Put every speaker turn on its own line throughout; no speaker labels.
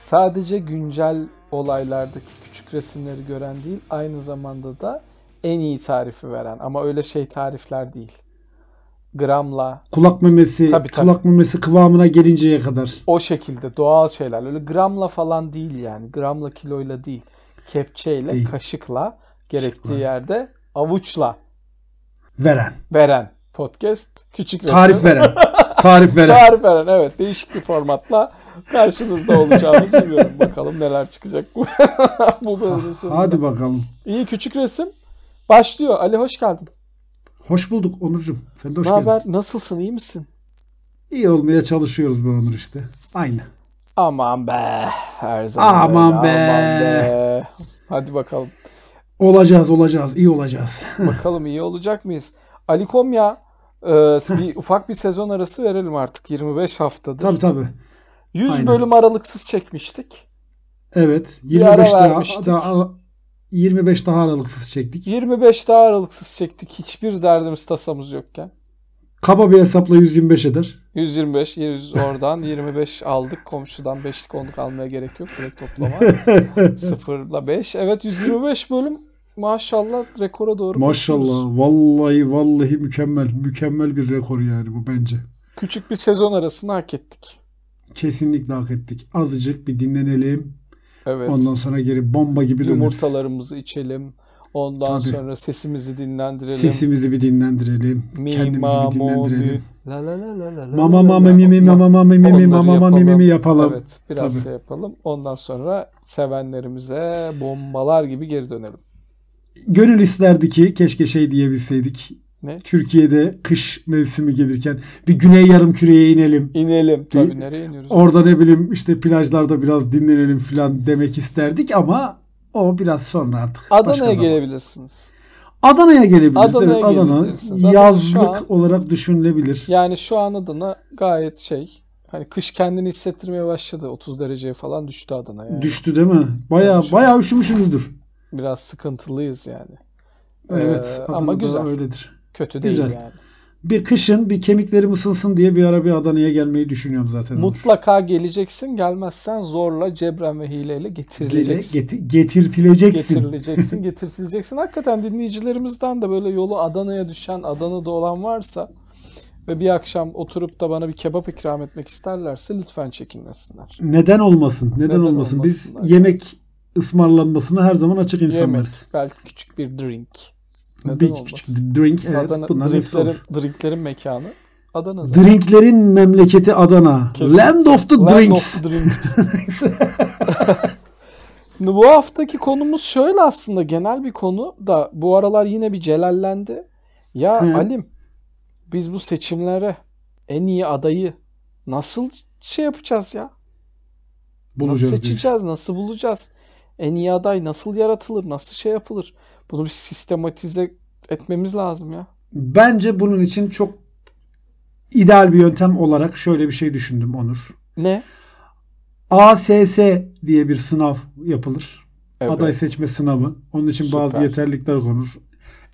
Sadece güncel olaylardaki küçük resimleri gören değil, aynı zamanda da en iyi tarifi veren ama öyle şey tarifler değil. Gramla
Kulak memesi,
Tabii, tabii.
kulak memesi kıvamına gelinceye kadar.
o şekilde doğal şeyler. Öyle gramla falan değil yani. Gramla kiloyla değil. Kepçeyle,
Değil.
kaşıkla, gerektiği
Kaşıkla.
yerde avuçla
Veren.
veren podcast küçük resim.
Tarif veren. Tarif veren.
Tarif veren evet değişik bir formatla karşınızda olacağımızı biliyorum. Bakalım neler çıkacak bu, bu bölümün sonunda.
Hadi bakalım.
İyi küçük resim başlıyor. Ali hoş geldin.
Hoş bulduk Onurcuğum. Sen de hoş
Ne
geldin.
haber? Nasılsın? iyi misin?
İyi olmaya çalışıyoruz be Onur işte. Aynı.
Aman be. Her zaman
Aman
böyle,
be.
aman be. Hadi bakalım.
Olacağız olacağız. iyi olacağız.
Bakalım iyi olacak mıyız? Ali Komya e, bir ufak bir sezon arası verelim artık 25 haftadır.
tabii tabii.
100
aynen.
bölüm aralıksız çekmiştik.
Evet.
ara
25 daha,
vermiştik.
daha 25 daha aralıksız çektik.
25 daha aralıksız çektik. Hiçbir derdimiz tasamız yokken.
Kaba bir hesapla 125 eder.
125, 700 oradan 25 aldık. Komşudan 5'lik 10'luk almaya gerek yok. Direkt toplama. 0'la 5. Evet 125 bölüm maşallah rekora doğru koşuyoruz.
Maşallah. Vallahi vallahi mükemmel. Mükemmel bir rekor yani bu bence.
Küçük bir sezon arasını hak ettik.
Kesinlikle hak ettik. Azıcık bir dinlenelim.
Evet.
Ondan sonra geri bomba gibi döneriz.
Yumurtalarımızı içelim. Ondan
Tabii.
sonra sesimizi dinlendirelim.
Sesimizi bir dinlendirelim.
Mi,
Kendimizi
ma,
bir
mo,
dinlendirelim.
mi. La la la la la la
Mama
la
mama
la.
mimi mama mama mimi
Onları
mama mama mimi yapalım.
Evet, biraz
Tabii.
şey yapalım. Ondan sonra sevenlerimize bombalar gibi geri dönelim.
Gönül isterdi ki keşke şey diyebilseydik.
Ne?
Türkiye'de kış mevsimi gelirken bir güney yarım küreye inelim.
İnelim.
Bir-
Tabii nereye iniyoruz?
Orada ne bileyim işte plajlarda biraz dinlenelim falan demek isterdik ama o biraz sonra artık. Başka
Adana'ya
zaman.
gelebilirsiniz.
Adana'ya gelebiliriz.
Adana'ya
evet, Adana
gelebilirsiniz. Adana
yazlık
şu an-
olarak düşünülebilir.
Yani şu an Adana gayet şey. Hani kış kendini hissettirmeye başladı. 30 dereceye falan düştü Adana yani.
Düştü değil mi? Baya
Ee, Tabii şu an-
baya üşümüşsünüzdür.
Biraz sıkıntılıyız yani.
Evet.
Ee,
Adana'da
ama güzel.
öyledir.
Kötü değil
Güzel.
yani.
Bir kışın bir kemiklerim ısınsın diye bir ara bir Adana'ya gelmeyi düşünüyorum zaten. Onur.
Mutlaka geleceksin. Gelmezsen zorla cebren ve hileyle getirileceksin.
Geti- getirtileceksin.
getirileceksin, getirtileceksin. Hakikaten dinleyicilerimizden de böyle yolu Adana'ya düşen, Adana'da olan varsa ve bir akşam oturup da bana bir kebap ikram etmek isterlerse lütfen çekinmesinler.
Neden olmasın? Neden,
Neden
olmasın? Biz
olmasınlar?
yemek ısmarlanmasına her zaman açık insanlarız.
Yemek, belki küçük bir drink. Neden
bir
olmasın?
küçük drink evet
Adana,
bunların hepsi
drinklerin,
olur.
drinklerin mekanı Adana zaten.
Drinklerin memleketi Adana.
Kesinlikle.
Land of the
Land
drinks.
of the drinks. Şimdi bu haftaki konumuz şöyle aslında genel bir konu da bu aralar yine bir celallendi. Ya
Hı.
Alim biz bu seçimlere en iyi adayı nasıl şey yapacağız ya? Nasıl
Bulacağız diyor.
seçeceğiz? Nasıl bulacağız? En iyi aday nasıl yaratılır? Nasıl şey yapılır? Bunu bir sistematize etmemiz lazım ya.
Bence bunun için çok ideal bir yöntem olarak şöyle bir şey düşündüm Onur.
Ne?
ASS diye bir sınav yapılır.
Evet.
Aday seçme sınavı. Onun için bazı
Süper.
yeterlikler konur.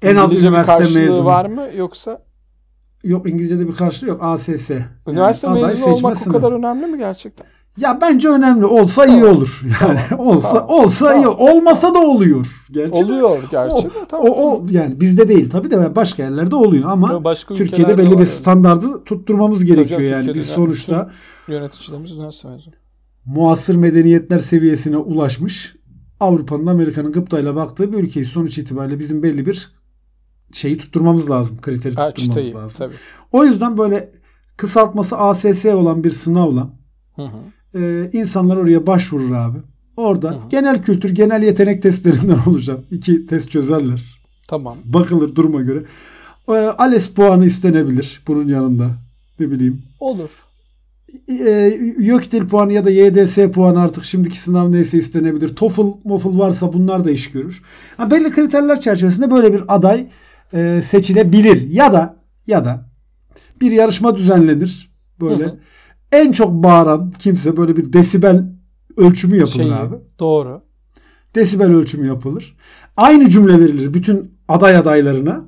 En az
İngilizce bir
üniversite
karşılığı
mezunu.
var mı yoksa
Yok İngilizce'de bir karşılığı yok. ASS. Yani
üniversite
aday
mezunu
seçme
olmak o
sınavı.
kadar önemli mi gerçekten?
Ya bence önemli. Olsa iyi olur. Yani olsa
Tamam.
olsa iyi.
Tamam.
Olmasa da oluyor. Gerçi de.
Oluyor gerçi. de,
O, o yani bizde değil tabii de başka yerlerde oluyor ama
Tabii başka
Türkiye'de
ülkelerde
belli
var
bir
öyle.
standardı tutturmamız gerekiyor
canım,
yani.
Türkiye'de
Biz
zaten
sonuçta
Yöneticilerimiz üniversite mezunu.
muasır medeniyetler seviyesine ulaşmış Avrupa'nın Amerika'nın gıptayla baktığı bir ülkeyi sonuç itibariyle bizim belli bir şeyi tutturmamız lazım. Kriteri
Ha,
tutturmamız
çıtayı
lazım.
tabii.
O yüzden böyle kısaltması ASS olan bir sınavla
Hı hı.
e, insanlar oraya başvurur abi. Orada
Hı hı.
genel kültür, genel yetenek testlerinden olacak. iki test çözerler.
Tamam.
Bakılır duruma göre. E, ALES puanı istenebilir bunun yanında. Ne bileyim
Olur.
e, YÖKDİL puanı ya da YDS puanı artık şimdiki sınav neyse istenebilir. TOEFL, MOFL varsa bunlar da iş görür. Ha, belli kriterler çerçevesinde böyle bir aday e, seçilebilir ya da ya da bir yarışma düzenlenir böyle.
Hı hı.
En çok bağıran kimse böyle bir desibel ölçümü yapılır
Şeyi,
abi.
Doğru.
Desibel ölçümü yapılır. Aynı cümle verilir bütün aday adaylarına.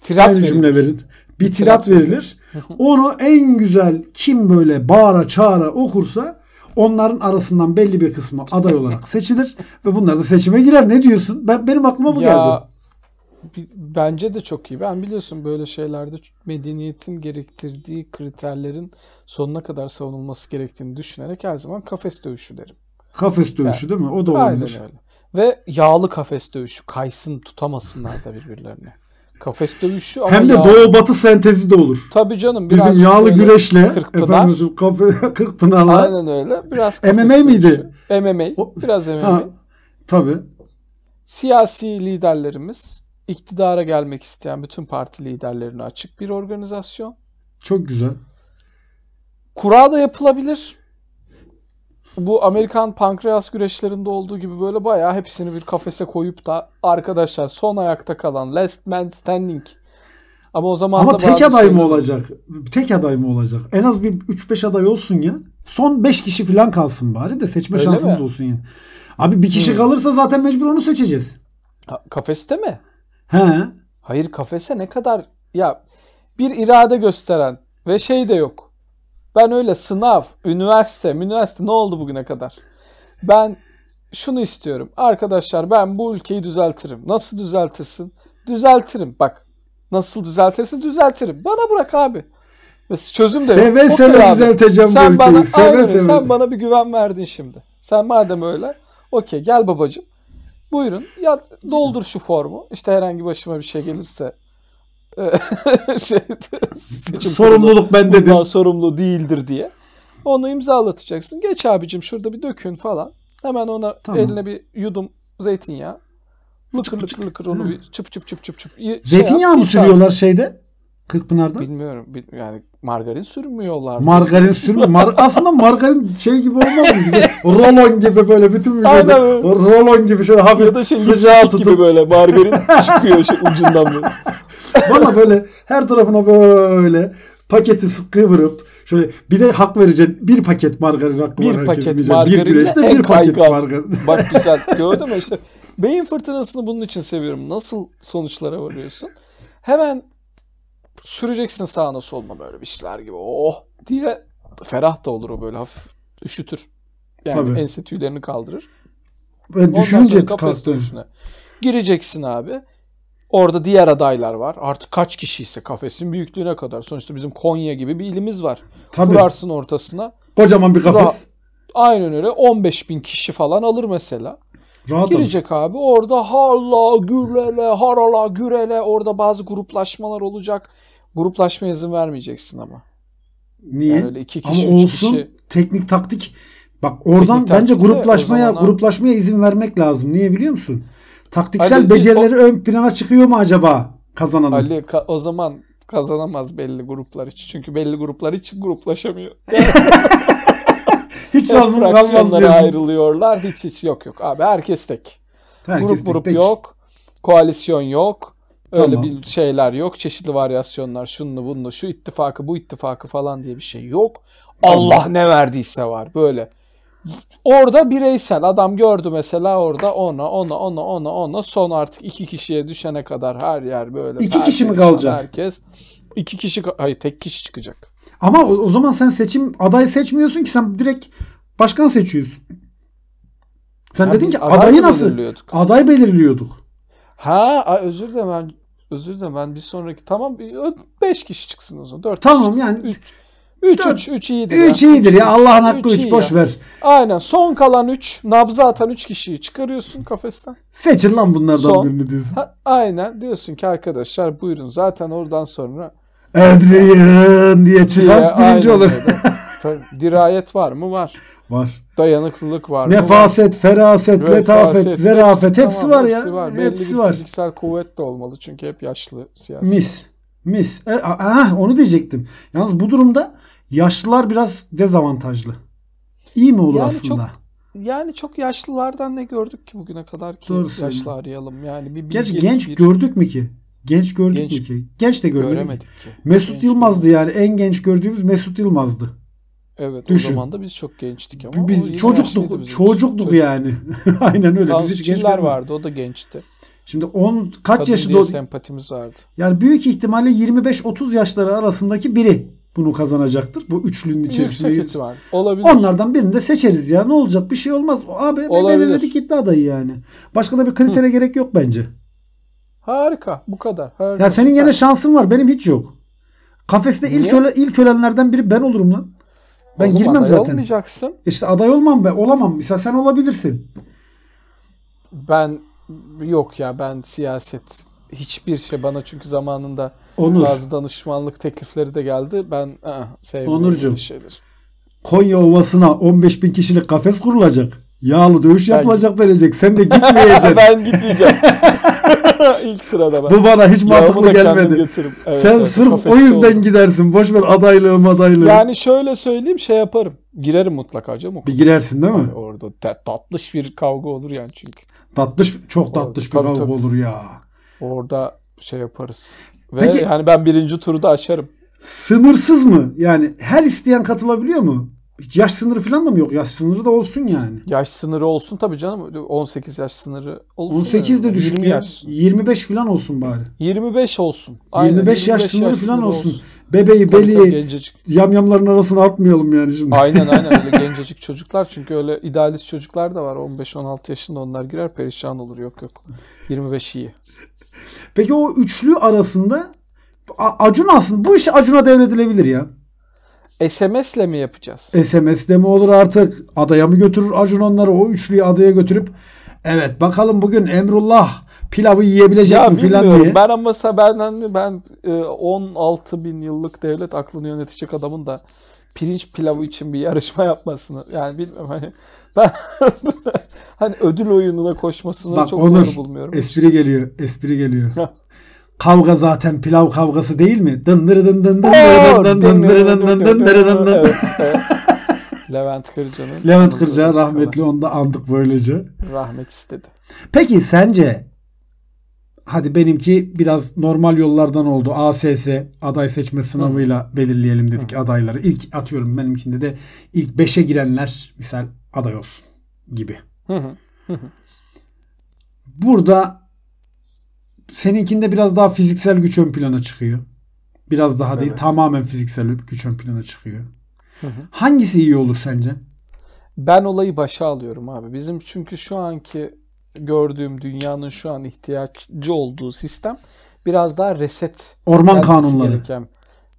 Tirat
Aynı
verin.
cümle verin. Bir
tirat
tirat verilir. Onu en güzel kim böyle bağıra çağıra okursa Onların arasından belli bir kısmı aday olarak seçilir ve bunlar da seçime girer. Ne diyorsun? Ben benim aklıma bu geldi.
bi- bence de çok iyi. Ben biliyorsun böyle şeylerde ç- medeniyetin gerektirdiği kriterlerin sonuna kadar savunulması gerektiğini düşünerek her zaman kafes dövüşü derim.
Kafes dövüşü değil mi? O da
Aynen
olabilir.
öyle. Ve yağlı kafes dövüşü. Kaysın tutamasınlar da birbirlerini. Kafes dövüşü ama
Hem de
yağlı.
doğu batı sentezi de olur.
Tabii canım.
Bizim
birazcık
yağlı
böyle-
güreşle
Kırkpınar.
efendim kafe, Kırkpınar'la
Aynen öyle. Biraz
MMA
kafes
miydi?
dövüşü. MMA.
O-
Biraz MMA.
ha, tabii.
Siyasi liderlerimiz iktidara gelmek isteyen bütün parti liderlerine açık bir organizasyon.
Çok güzel.
Kura da yapılabilir. Bu Amerikan pankreas güreşlerinde olduğu gibi böyle bayağı hepsini bir kafese koyup da arkadaşlar son ayakta kalan last man standing. Ama o zaman
Ama
da
tek
bazı
aday mı
şeyler-
olacak? Tek aday mı olacak? En az bir 3-5 aday olsun ya. Son 5 kişi falan kalsın bari de seçme
Öyle
şansımız
mi? Hmm.
olsun ya. Abi bir kişi
Hı.
kalırsa zaten mecbur onu seçeceğiz.
Ha, kafeste mi?
He.
Hayır kafese ne kadar ya bir irade gösteren ve şey de yok. Ben öyle sınav, üniversite, üniversite ne oldu bugüne kadar? Ben şunu istiyorum. Arkadaşlar ben bu ülkeyi düzeltirim. Nasıl düzeltirsin? Düzeltirim. Bak nasıl düzeltirsin düzeltirim. Bana bırak abi. Ve çözüm de yok.
Seve
Okey
seve
abi.
düzelteceğim bu
sen
ülkeyi.
bana,
Seve
aynen öyle.
seve.
Sen bana bir güven verdin şimdi. Sen madem öyle. Okey gel babacığım. Buyurun ya doldur şu formu. İşte herhangi başıma bir şey gelirse e, şey, seçim kurulu
Sorumluluk bendedir.
bundan sorumlu değildir diye. Onu imzalatacaksın. Geç abicim şurada bir dökün falan. Hemen ona
Tamam.
eline bir yudum zeytinyağı. Lıkır lıkır lıkır onu
Hı.
bir çıp çıp çıp çıp çıp. y- şey
Zeytinyağı
yap,
mı
iç abi.
sürüyorlar şeyde? Kırkpınar'da?
Bilmiyorum. bil- Yani margarin sürmüyorlar. mı?
Margarin sürme. Mar- aslında margarin şey gibi olmaz mı? Bize Rolon gibi böyle bütün vücudu.
Aynen öyle.
Rolon gibi şöyle hafif
ya da şey
sıcağı
lipstick
tutup.
gibi böyle margarin çıkıyor şey ucundan böyle.
Valla böyle her tarafına böyle paketi kıvırıp şöyle bir de hak vereceksin. Bir paket margarin hakkı var
Bir
herkesin
paket
diyeceksin. Bir
margarinle
güreşte
en
bir paket
kaygan.
margarin.
Bak güzel gördün mü işte beyin fırtınasını bunun için seviyorum. Nasıl sonuçlara varıyorsun? Hemen süreceksin sağına soluna böyle bir şeyler gibi oh diye ferah da olur o böyle hafif üşütür. Yani
Tabii.
ense tüylerini kaldırır.
Ben
Ondan
düşününce
sonra kafes
kalktım.
dönüşüne. Gireceksin abi. Orada diğer adaylar var. Artık kaç kişiyse kafesin büyüklüğüne kadar. Sonuçta bizim Konya gibi bir ilimiz var.
Tabii.
Kurarsın ortasına.
Kocaman bir kafes.
Ra- Aynen öyle 15 bin kişi falan alır mesela.
Rahat olur.
Girecek abi orada hala gürele harala gürele orada bazı gruplaşmalar olacak. Gruplaşma izin vermeyeceksin ama.
Niye?
Yani öyle iki
Ama
kişi üç
olsun
kişi.
teknik taktik. Bak oradan
Teknik
bence
taktik de
gruplaşmaya
o zaman-
gruplaşmaya izin vermek lazım. Niye biliyor musun? Taktiksel
Ali, biz
becerileri ön plana çıkıyor mu acaba kazananın?
Ali ka- o zaman kazanamaz belli gruplar için. Çünkü belli gruplar hiç gruplaşamıyor.
Hiç şansımız kalmaz
Fraksiyonlara
diyorsun.
ayrılıyorlar. Hiç hiç yok yok abi herkes tek.
Herkes
grup
tek,
grup
peki.
yok. Koalisyon yok. Öyle
Tamam.
bir şeyler yok. Çeşitli varyasyonlar şunlu bunlu şu ittifakı bu ittifakı falan diye bir şey yok. Allah ne verdiyse var böyle. Orada bireysel adam gördü mesela orada ona ona ona ona ona son artık iki kişiye düşene kadar her yer böyle.
İki kişi mi
perperişan
kalacak?
Herkes. iki kişi ka- hayır tek kişi çıkacak.
Ama o, o zaman sen seçim aday seçmiyorsun ki sen direkt başkan seçiyorsun. Sen
Ha,
dedin
biz
ki
aday
adayı
mı
nasıl?
belirliyorduk?
Aday belirliyorduk.
Ha ay özür dilerim ben özür dilerim ben bir sonraki tamam 5 kişi çıksın o zaman 4
Tamam,
kişi
yani-
3 3
Dört-
3 iyidir. ya.
3 iyidir ya Allah'ın hakkı
Üç
3
iyi
boş
ya.
ver.
Aynen son kalan 3 nabza atan 3 kişiyi çıkarıyorsun kafesten.
Seçin lan bunlardan
Son.
birini diyorsun.
Ha, aynen diyorsun ki arkadaşlar buyurun zaten oradan sonra e,
Adrian diye çıkan birinci
Aynen
olur.
öyle. Tabii, dirayet var mı? Var.
var.
Dayanıklılık var mı? Var.
Nefaset, feraset,
Böyle
letafet,
faset,
zerafet hepsi
tamam,
var ya.
Hepsi var. Belli
Hepsi
bir
var.
fiziksel kuvvet de olmalı çünkü hep yaşlı siyasi.
Mis. Mis. E, a- aha, onu diyecektim. Yalnız bu durumda yaşlılar biraz dezavantajlı. İyi mi olur
Yani çok-
aslında?
Yani çok yaşlılardan ne gördük ki bugüne kadar ki
Doğru söylüyorsun.
yaşlı arayalım. Yani bir
Gerçi
bilgelik,
genç
bir-
gördük mü ki? Genç gördük
Genç
mü ki? Genç de görmedik.
göremedik ki.
Mesut
Genç
Yılmaz'dı yani en genç gördüğümüz Mesut Yılmaz'dı.
Evet
Düşün.
o zaman da biz çok gençtik ama. o
Biz
yine yaşlıydı bizim
çocukluk
için.
çocukluk yani. Aynen öyle.
Tansu
Biz hiç genç
Çiller
görmedik.
vardı o da gençti.
Şimdi 10 kaç
Kaç
yaşında
yaşında
o-
sempatimiz vardı.
yani büyük ihtimalle 25-30 yaşları arasındaki biri. bunu kazanacaktır. Bu üçlünün içerisinde.
Yüksek ihtimal. Olabilir.
Onlardan birini de seçeriz ya. Ne olacak? Bir şey olmaz. Abi
Olabilir.
belirledik iddia adayı yani. Başka da bir kritere gerek yok bence.
Harika. Bu kadar. Harika.
Ya senin
süper.
gene şansın var. Benim hiç yok. Kafeste ilk
Niye?
öle, ilk ölenlerden biri ben olurum lan. Ben
Oğlum,
girmem
aday
zaten.
Olmayacaksın.
İşte aday olmam ben. Olamam. Mesela sen olabilirsin.
Ben yok ya ben siyaset hiçbir şey bana çünkü zamanında
Onur.
bazı danışmanlık teklifleri de geldi. Ben ıh, sevmiyorum
Onurcuğum,
böyle şeyler.
Konya Ovası'na 15 bin kişilik kafes kurulacak. Yağlı dövüş
Ben-
yapılacak verecek. Sen de gitmeyeceksin.
ben gitmeyeceğim. İlk sırada ben.
Bu bana hiç
Yağımı
mantıklı
da kendim
gelmedi.
götürürüm. Evet,
sen
evet,
sırf o
kafeste
yüzden
olur.
gidersin. Boş ver adaylığım adaylığım.
Yani şöyle söyleyeyim şey yaparım. Girerim mutlaka canım. o
bir girersin değil mi?
Hani orada ta- tatlış bir kavga olur yani çünkü.
Tatlış çok tatlış bir
Tabii,
kavga
tabii.
olur ya.
Orada şey yaparız. Ve
Peki-
yani ben birinci turda açarım.
Sınırsız mı? Yani her isteyen katılabiliyor mu? Hiç Yaş sınırı falan da mı yok? Yaş sınırı da olsun yani.
Yaş sınırı olsun tabii canım. 18 yaş sınırı olsun.
18 de
Yani
düşük
20
ya.
yaş.
25 falan olsun bari.
25 olsun.
25 yaş sınırı falan
sınırı
olsun. Bebeği,
Tabii, tabii,
beliği,
gencecik.
yamyamların arasına atmayalım yani şimdi.
Aynen aynen öyle gencecik çocuklar çünkü öyle idealist çocuklar da var 15-16 yaşında onlar girer perişan olur yok yok 25 iyi.
Peki o üçlü arasında A- Acun aslında bu iş Acun'a devredilebilir ya.
SMS'le mi yapacağız?
SMS'de mi olur artık? Adaya mı götürür Acun onları? O üçlüyü adaya götürüp evet bakalım bugün Emrullah pilavı yiyebilecek
Ya
mi filan
bilmiyorum
diye.
ben ama sa- ben hani ben e, 16 bin yıllık devlet aklını yönetecek adamın da pirinç pilavı için bir yarışma yapmasını yani bilmiyorum hani ben hani ödül oyununa koşmasını
Bak
çok
Onur
doğru bulmuyorum.
espri geliyor. Espri geliyor.
Heh.
Kavga zaten pilav kavgası değil mi? Dındırı dın dın dın
Oo,
dırı dın dın dırı dın dın dın dırı dın dın.
Evet, evet. Levent Kırca'nın
Levent Kırca rahmetli onu da andık böylece.
rahmet istedi.
Peki sence hadi benimki biraz normal yollardan oldu. ASS aday seçme sınavıyla belirleyelim dedik adayları. İlk atıyorum benimkinde de ilk 5'e girenler misal aday olsun gibi.
Hı hı.
Burada seninkinde biraz daha fiziksel güç ön plana çıkıyor. Biraz daha değil
Evet.
tamamen fiziksel güç ön plana çıkıyor.
Hı hı.
Hangisi iyi olur sence?
Ben olayı başa alıyorum abi. Bizim çünkü şu anki gördüğüm dünyanın şu an ihtiyacı olduğu sistem biraz daha reset
Orman
gelmesi
kanunları.
gereken.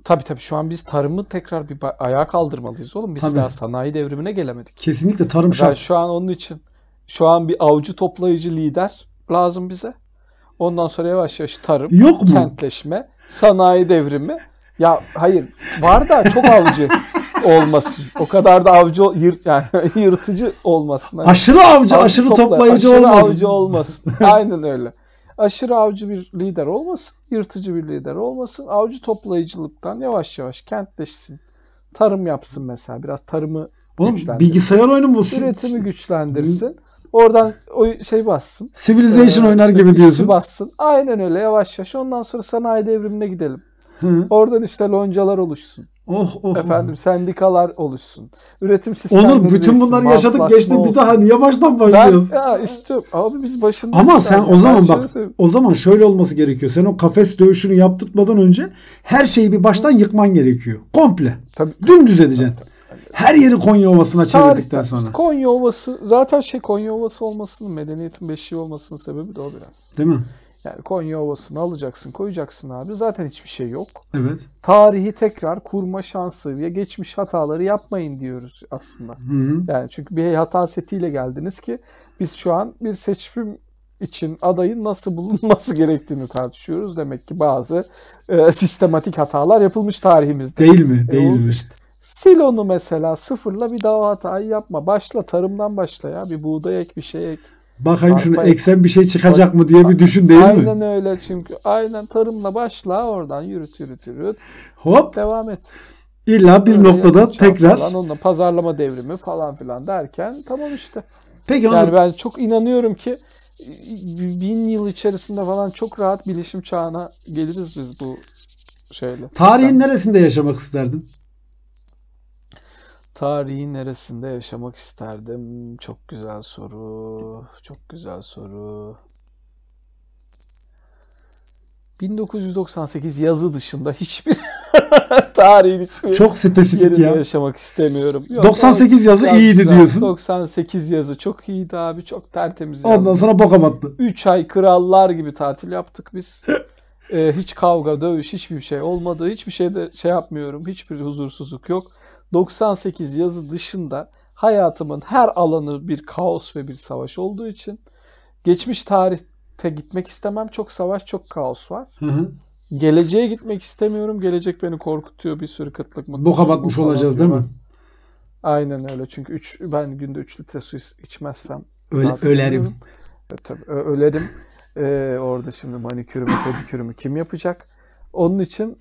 Tabii tabii şu an biz tarımı tekrar bir ba- ayağa kaldırmalıyız oğlum. Biz
Tabii.
daha sanayi devrimine gelemedik.
Kesinlikle tarım
Ben
şart.
şu an onun için şu an bir avcı toplayıcı lider lazım bize. Ondan sonra yavaş yavaş tarım,
Yok mu?
kentleşme, sanayi devrimi. Ya hayır var da çok avcı olmasın. O kadar da avcı ol- yırt yani yırtıcı olmasın. Hani
Aşırı avcı,
avcı
aşırı
topla-
toplayıcı
aşırı
olmaz.
avcı olmasın. Aynen öyle. Aşırı avcı bir lider olmasın, yırtıcı bir lider olmasın. Avcı toplayıcılıktan yavaş yavaş kentleşsin. Tarım yapsın mesela. Biraz tarımı
Oğlum
güçlendirsin.
bilgisayar oyunu mu?
üretimi güçlendirsin. Oradan o şey bassın.
Civilization
Ee,
oynar
işte
gibi
işçi
diyorsun.
bassın. Aynen öyle yavaş yavaş. Ondan sonra sanayi devrimine gidelim.
Hı.
Oradan işte loncalar oluşsun.
Oh oh.
Efendim sendikalar oluşsun. Üretim sistemleri
Onur bütün
değişsin,
bunları yaşadık
bantlaşma
geçtik bir
olsun.
daha niye baştan
ben
başlıyorsun?
ya istiyorum. Abi biz başında
Ama sen o zaman bak
Söyleyeyim.
o zaman şöyle olması gerekiyor. Sen o kafes dövüşünü yaptırtmadan önce her şeyi bir baştan yıkman gerekiyor. Komple.
Tabii.
Dümdüz edeceksin. Her yeri Konya Ovası'na çevirdikten
Tarihten
sonra.
sonra. Konya Ovası zaten şey Konya Ovası olmasının medeniyetin beşiği olmasının sebebi de o biraz.
Değil mi?
Yani Konya Ovası'nı alacaksın koyacaksın abi. Zaten hiçbir şey yok.
Evet.
tarihi tekrar kurma şansı ve geçmiş hataları yapmayın diyoruz aslında.
Hı -hı.
Yani çünkü bir hata setiyle geldiniz ki biz şu an bir seçim için adayın nasıl bulunması gerektiğini tartışıyoruz. Demek ki bazı e, sistematik hatalar yapılmış tarihimizde.
Değil mi?
E,
Değil
o
mi?
işte sil onu mesela sıfırla bir daha o hatayı yapma. Başla tarımdan başla ya. Bir buğday ek bir şey ek.
Bakayım şunu
Bak-
eksen bir şey çıkacak mı diye bir düşün değil
aynen
mi?
öyle çünkü. Aynen tarımla başla oradan yürüt yürüt yürüt.
Hop
Devam et.
illa bir
Böyle
noktada
yatıracağım
tekrar.
Falan, onunla pazarlama devrimi falan filan derken tamam işte.
Peki Onur,
Yani ben çok inanıyorum ki e, bin yıl içerisinde falan çok rahat bilişim çağına geliriz biz bu şeyle.
tarihin
Sistem-
neresinde yaşamak isterdin?
Tarihin neresinde yaşamak isterdim? Çok güzel soru. Çok güzel soru. 1998 yazı dışında hiçbir Tarihin hiçbir
Çok spesifik
yerinde
ya.
yaşamak istemiyorum. Yok,
98 yazı
gayet
iyiydi
güzel.
diyorsun.
98 yazı çok iyiydi abi. Çok tertemiz
Ondan
yazdı.
sonra boka battı.
3 ay krallar gibi tatil yaptık biz. Ee, hiç kavga, dövüş, hiçbir şey olmadı. Hiçbir şeyde şey yapmıyorum. Hiçbir huzursuzluk yok. 98 yazı dışında hayatımın her alanı bir kaos ve bir savaş olduğu için geçmiş tarihte gitmek istemem. Çok savaş, çok kaos var.
Hı hı.
Geleceğe gitmek istemiyorum. Gelecek beni korkutuyor. Bir sürü kıtlık mı?
Boka batmış olacağız değil mi?
Aynen öyle. Çünkü üç, ben günde 3 litre su is- içmezsem
Öyle,
Rahat
ölerim.
ediyorum. E, tabii ö- ölerim. E, orada şimdi manikürümü, pedikürümü kim yapacak? Onun için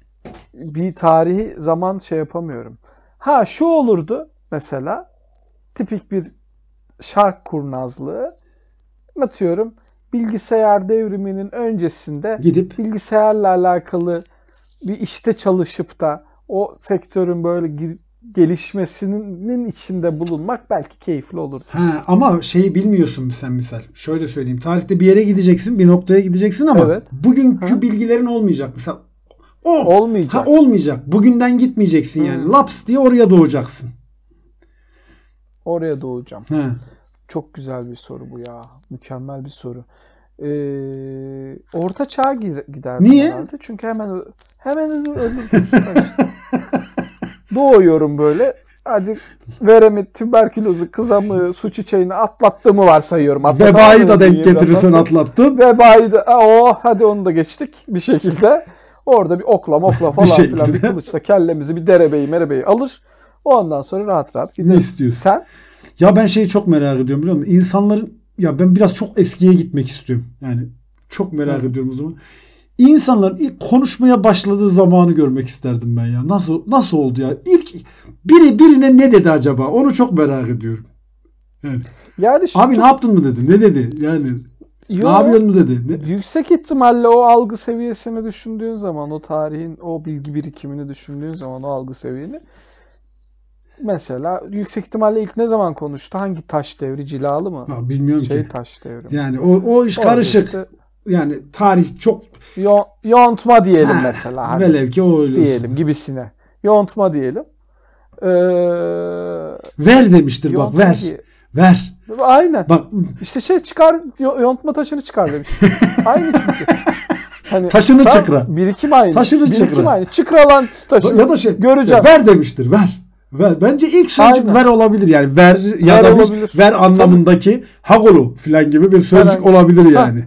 bir tarihi zaman şey yapamıyorum. Ha şu olurdu mesela tipik bir şark kurnazlığı. Atıyorum bilgisayar devriminin öncesinde
Gidip
bilgisayarla alakalı bir işte çalışıp da o sektörün böyle gir- gelişmesinin içinde bulunmak belki keyifli olurdu.
Ha, ama şeyi bilmiyorsun sen misal. Şöyle söyleyeyim. Tarihte bir yere gideceksin, bir noktaya gideceksin ama
Evet.
bugünkü
Hı.
bilgilerin olmayacak. Mesela o
Olmayacak.
Ha, olmayacak. Bugünden gitmeyeceksin yani.
Hı.
Laps diye oraya doğacaksın.
Oraya doğacağım.
Ha.
Çok güzel bir soru bu ya. Mükemmel bir soru. Ee, orta çağa gi- giderdim
Niye?
herhalde. Çünkü hemen ö- hemen ö- öldürdüm usta işte. Doğuyorum böyle. Hadi veremi, tüberkülozu, kızamığı, su çiçeğini atlattığımı varsayıyorum.
Vebayı da
Atlatamıyorum
denk
diyeyim
getirirsen
biraz az.
atlattın.
Vebayı da, aa, oh, hadi onu da geçtik bir şekilde. Orada bir okla mokla falan filan bir
şekilde.
kılıçla kellemizi bir derebeyi merebeyi alır. Ondan sonra rahat rahat
Ne
gideriz.
istiyorsun?
Sen?
Ya ben şeyi çok merak ediyorum biliyor musun? İnsanların ya ben biraz çok eskiye gitmek istiyorum. Yani çok merak
Hı.
ediyorum o zaman. İnsanların ilk konuşmaya başladığı zamanı görmek isterdim ben ya. Nasıl nasıl oldu ya? İlk biri birine ne dedi acaba? Onu çok merak ediyorum. Yani,
Yani şimdi
abi ne yaptın mı dedi? Ne dedi? Yani
Yo,
ne yapıyorsun mu dedi? Ne-
Yüksek ihtimalle o algı seviyesini düşündüğün zaman, o tarihin, o bilgi birikimini düşündüğün zaman, o algı seviyeni. Mesela yüksek ihtimalle ilk ne zaman konuştu? Hangi taş devri? Cilalı mı?
Ya bilmiyorum
şey
ki.
taş devri. mi?
Yani o o iş
Orada
karışık.
işte
Yani tarih çok
yo- yontma diyelim
Ha,
mesela. hani.
velev ki o öyle olsun.
diyelim gibisine. Yontma diyelim. Ee,
Ver demiştir bak
yontma
ver.
diye-
Ver.
Aynen.
Bak
İşte şey çıkar, yo- yontma taşını çıkar demiş. aynı çünkü. Hani
Taşını
tam
çıkra.
Birikim aynı.
Taşını
birikim
çıkra.
aynı. Çıkra lan taşı.
ya da şey
Göreceğim.
ver demiştir ver. Ver. Bence ilk sözcük
Aynen.
ver olabilir yani ver ya
Ver
da bir
olabilir.
ver anlamındaki hagolu filan gibi bir sözcük
Herhangi-
olabilir yani.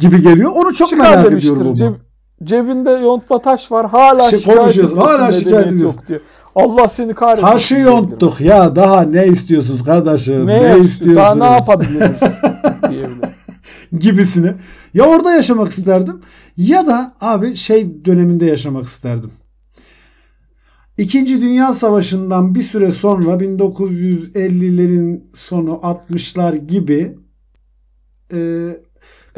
Gibi geliyor. Onu çok
çıkar
merak
demiştir.
ediyorum
Ceb-
ama.
cebinde yontma taş var. Hala
Şey
şikayet
konuşuyoruz,
ediyorsun.
hala
medeniyet
şikayet ediyorsun.
Yok diye. Allah seni kahretsin.
Taşı yonttuk ya daha ne istiyorsunuz kardeşim?
Ne,
Ne,
yapsın?
istiyorsunuz?
Daha ne yapabiliriz diyebilir.
gibisini. Ya orada yaşamak isterdim ya da abi şey döneminde yaşamak isterdim. İkinci Dünya Savaşı'ndan bir süre sonra 1950'lerin sonu 60'lar gibi e,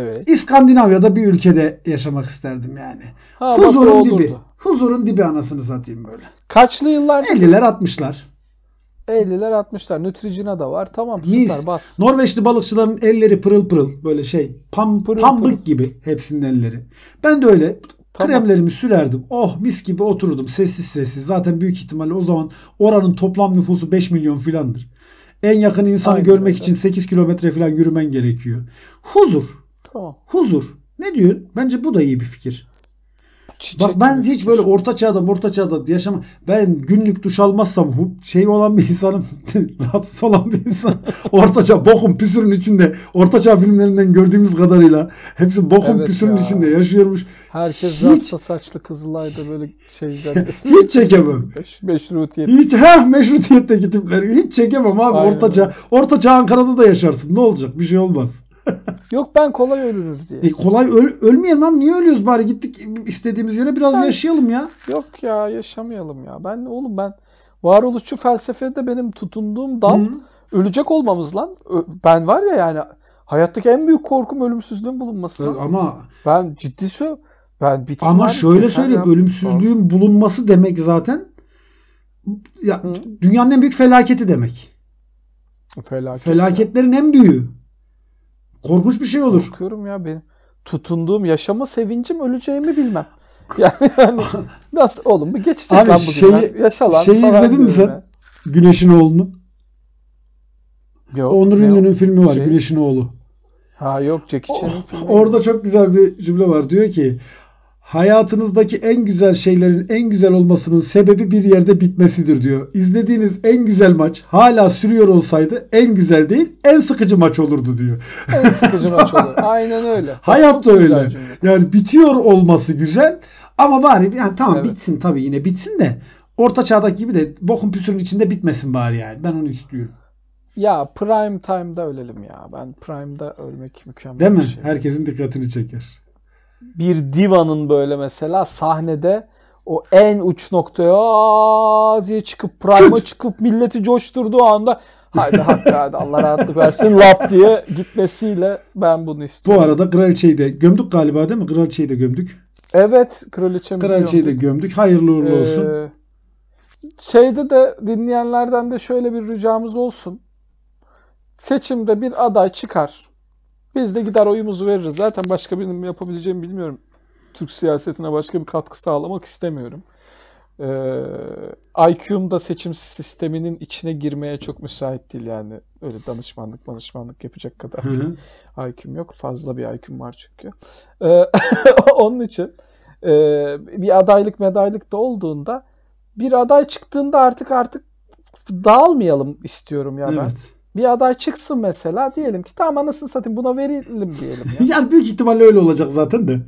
Evet.
İskandinavya'da bir ülkede yaşamak isterdim yani.
Ha, bak, o
Huzurun
olurdu.
dibi. Huzurun dibi anasını satayım böyle.
Kaçlı yıllar?
50'ler 60'lar.
50'ler 60'lar. Nütricina da var. Tamam
Mis.
süper bas.
Norveçli balıkçıların elleri pırıl pırıl böyle şey pam,
Pırıl
pambık
pırıl.
gibi hepsinin elleri. Ben de öyle
Tamam.
kremlerimi sürerdim. Oh mis gibi otururdum sessiz sessiz. Zaten büyük ihtimalle o zaman oranın toplam nüfusu 5 milyon filandır. En yakın insanı
Aynen
görmek
öyle.
için 8 kilometre filan yürümen gerekiyor. Huzur.
Tamam.
Huzur. Ne diyorsun? Bence bu da iyi bir fikir.
Çiçek
Bak ben
gibi.
hiç böyle orta çağda orta çağda yaşama ben günlük duş almazsam hu- şey olan bir insanım rahatsız olan bir insan orta çağ bokun püsürün içinde orta çağ filmlerinden gördüğümüz kadarıyla hepsi bokun
Evet
püsürün
ya.
içinde yaşıyormuş
Herkes
Hiç-
rasta saçlı Kızılay'da böyle şey caddesi.
hiç çekemem
Meş- meşrutiyet.
hiç ha meşrutiyetteki tipleri hiç çekemem abi
Aynen
orta çağ
öyle.
orta çağ Ankara'da da yaşarsın ne olacak bir şey olmaz
Yok ben kolay ölünür diye.
e kolay öl, ölmeyelim lan niye ölüyoruz bari gittik istediğimiz yere biraz
Evet.
yaşayalım ya
Yok ya yaşamayalım ya. Ben oğlum ben varoluşçu felsefede benim tutunduğum dal
Hı.
ölecek olmamız lan. Ö- Ben var ya yani hayattaki en büyük korkum ölümsüzlüğün bulunması. lan.
ama
Ben ciddi söylüyorum. Ben bitsin
Ama
abi,
şöyle
yeter
söyleyeyim
ya.
ölümsüzlüğün bulunması demek zaten ya,
Hı.
dünyanın en büyük felaketi demek.
Felaket.
Felaketlerin en büyüğü. Korkunç bir şey olur.
Korkuyorum ya benim. Tutunduğum yaşama sevincim öleceğimi bilmem. Yani hani nasıl oğlum bu geçecek
Abi
lan bugünler.
şeyi-
Yaşa lan
şeyi
falan
izledin mi
diyorum
sen? Güneş'in oğlunu.
ya. Yok,
Onur
ne o?
Ünlü'nün filmi var
Şey-
Güneş'in oğlu.
Ha yok Jackie Chan'ın filmi.
Orada çok güzel bir cümle var. Diyor ki hayatınızdaki en güzel şeylerin en güzel olmasının sebebi bir yerde bitmesidir diyor. İzlediğiniz en güzel maç hala sürüyor olsaydı en güzel değil en sıkıcı maç olurdu diyor.
en sıkıcı maç olur. Aynen öyle. Bak, çok
Hayat da
güzel
öyle.
cümle.
Yani bitiyor olması güzel ama bari yani tamam
Evet.
bitsin tabii yine bitsin de orta çağdaki gibi de bokun püsürün içinde bitmesin bari yani. Ben onu istiyorum.
Ya prime time'da ölelim ya. Ben prime'da ölmek mükemmel
Değil mi?
bir şey.
Herkesin dikkatini çeker.
bir divanın böyle mesela sahnede o en uç noktaya aa diye çıkıp prime'a çıkıp milleti coşturduğu anda haydi hakkı hadi Allah rahatlık versin lap diye gitmesiyle ben bunu
Bu
istiyorum.
arada kraliçeyi de gömdük galiba değil mi? Kraliçeyi de gömdük.
Evet kraliçemizi
Kraliçeyi de
gömdük.
gömdük. Hayırlı uğurlu olsun.
Ee, şeyde de dinleyenlerden de şöyle bir ricamız olsun. Seçimde bir aday çıkar. Biz de gider oyumuzu veririz. Zaten başka benim yapabileceğimi bilmiyorum. Türk siyasetine başka bir katkı sağlamak istemiyorum. Ee, IQ'm da seçim sisteminin içine girmeye çok müsait değil yani. Öyle danışmanlık danışmanlık yapacak kadar.
Hı hı.
IQ'm yok. Fazla bir IQ'm var çünkü. Ee, onun için e, bir adaylık medaylık da olduğunda bir aday çıktığında artık artık dağılmayalım istiyorum ya ben.
Evet.
Bir aday çıksın mesela diyelim ki tamam anasını satayım buna verelim diyelim ya.
Yani büyük ihtimalle öyle olacak zaten de.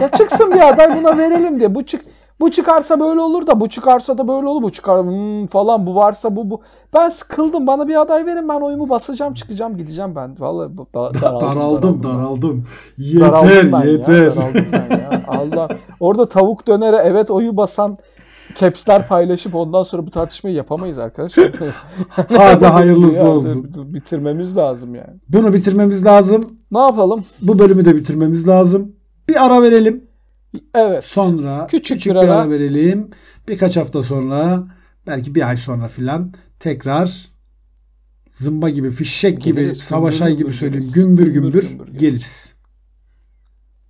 ya çıksın bir aday buna verelim diye. Bu çık bu çıkarsa böyle olur da bu çıkarsa da böyle olur. Bu çıkar hmm, falan bu varsa bu bu. Ben sıkıldım. Bana bir aday verin. Ben oyumu basacağım, çıkacağım, gideceğim ben. Vallahi bu- da- ben.
Daraldım daraldım.
Daraldım
Yeter
ben
yeter.
Ya, daraldım ben ya. Allah. Orada tavuk dönere evet oyu basan capsler paylaşıp ondan sonra bu tartışmayı yapamayız arkadaşlar.
Hadi hayırlısı
Ya,
olsun.
dur, dur, Bitirmemiz lazım yani.
Bunu bitirmemiz lazım.
Ne yapalım?
Bu bölümü de bitirmemiz lazım. Bir ara verelim.
Evet.
Sonra
Küçük
küçük,
bir
bir ara.
ara.
verelim. Birkaç hafta sonra belki bir ay sonra filan tekrar zımba gibi, fişek gibi,
Geliriz,
savaşay
gümbür gümbür
gibi söyleyeyim.
geliriz.
Gümbür
Gümbür
gümbür,
gümbür geliriz.
geliriz.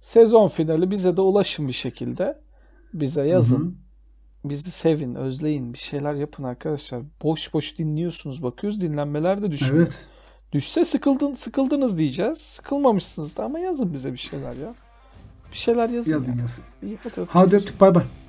Sezon finali bize de ulaşın bir şekilde. Bize yazın.
Hı hı.
Bizi sevin, özleyin. Bir şeyler yapın arkadaşlar. Boş boş dinliyorsunuz. Bakıyoruz dinlenmeler de düşüyor.
Evet.
Düşse sıkıldın, sıkıldınız diyeceğiz. Sıkılmamışsınız da ama yazın bize bir şeyler ya. Bir şeyler yazın.
Yazın
ya.
yazın.
İyi, hadi öptük.
Hadi öptük bay bay.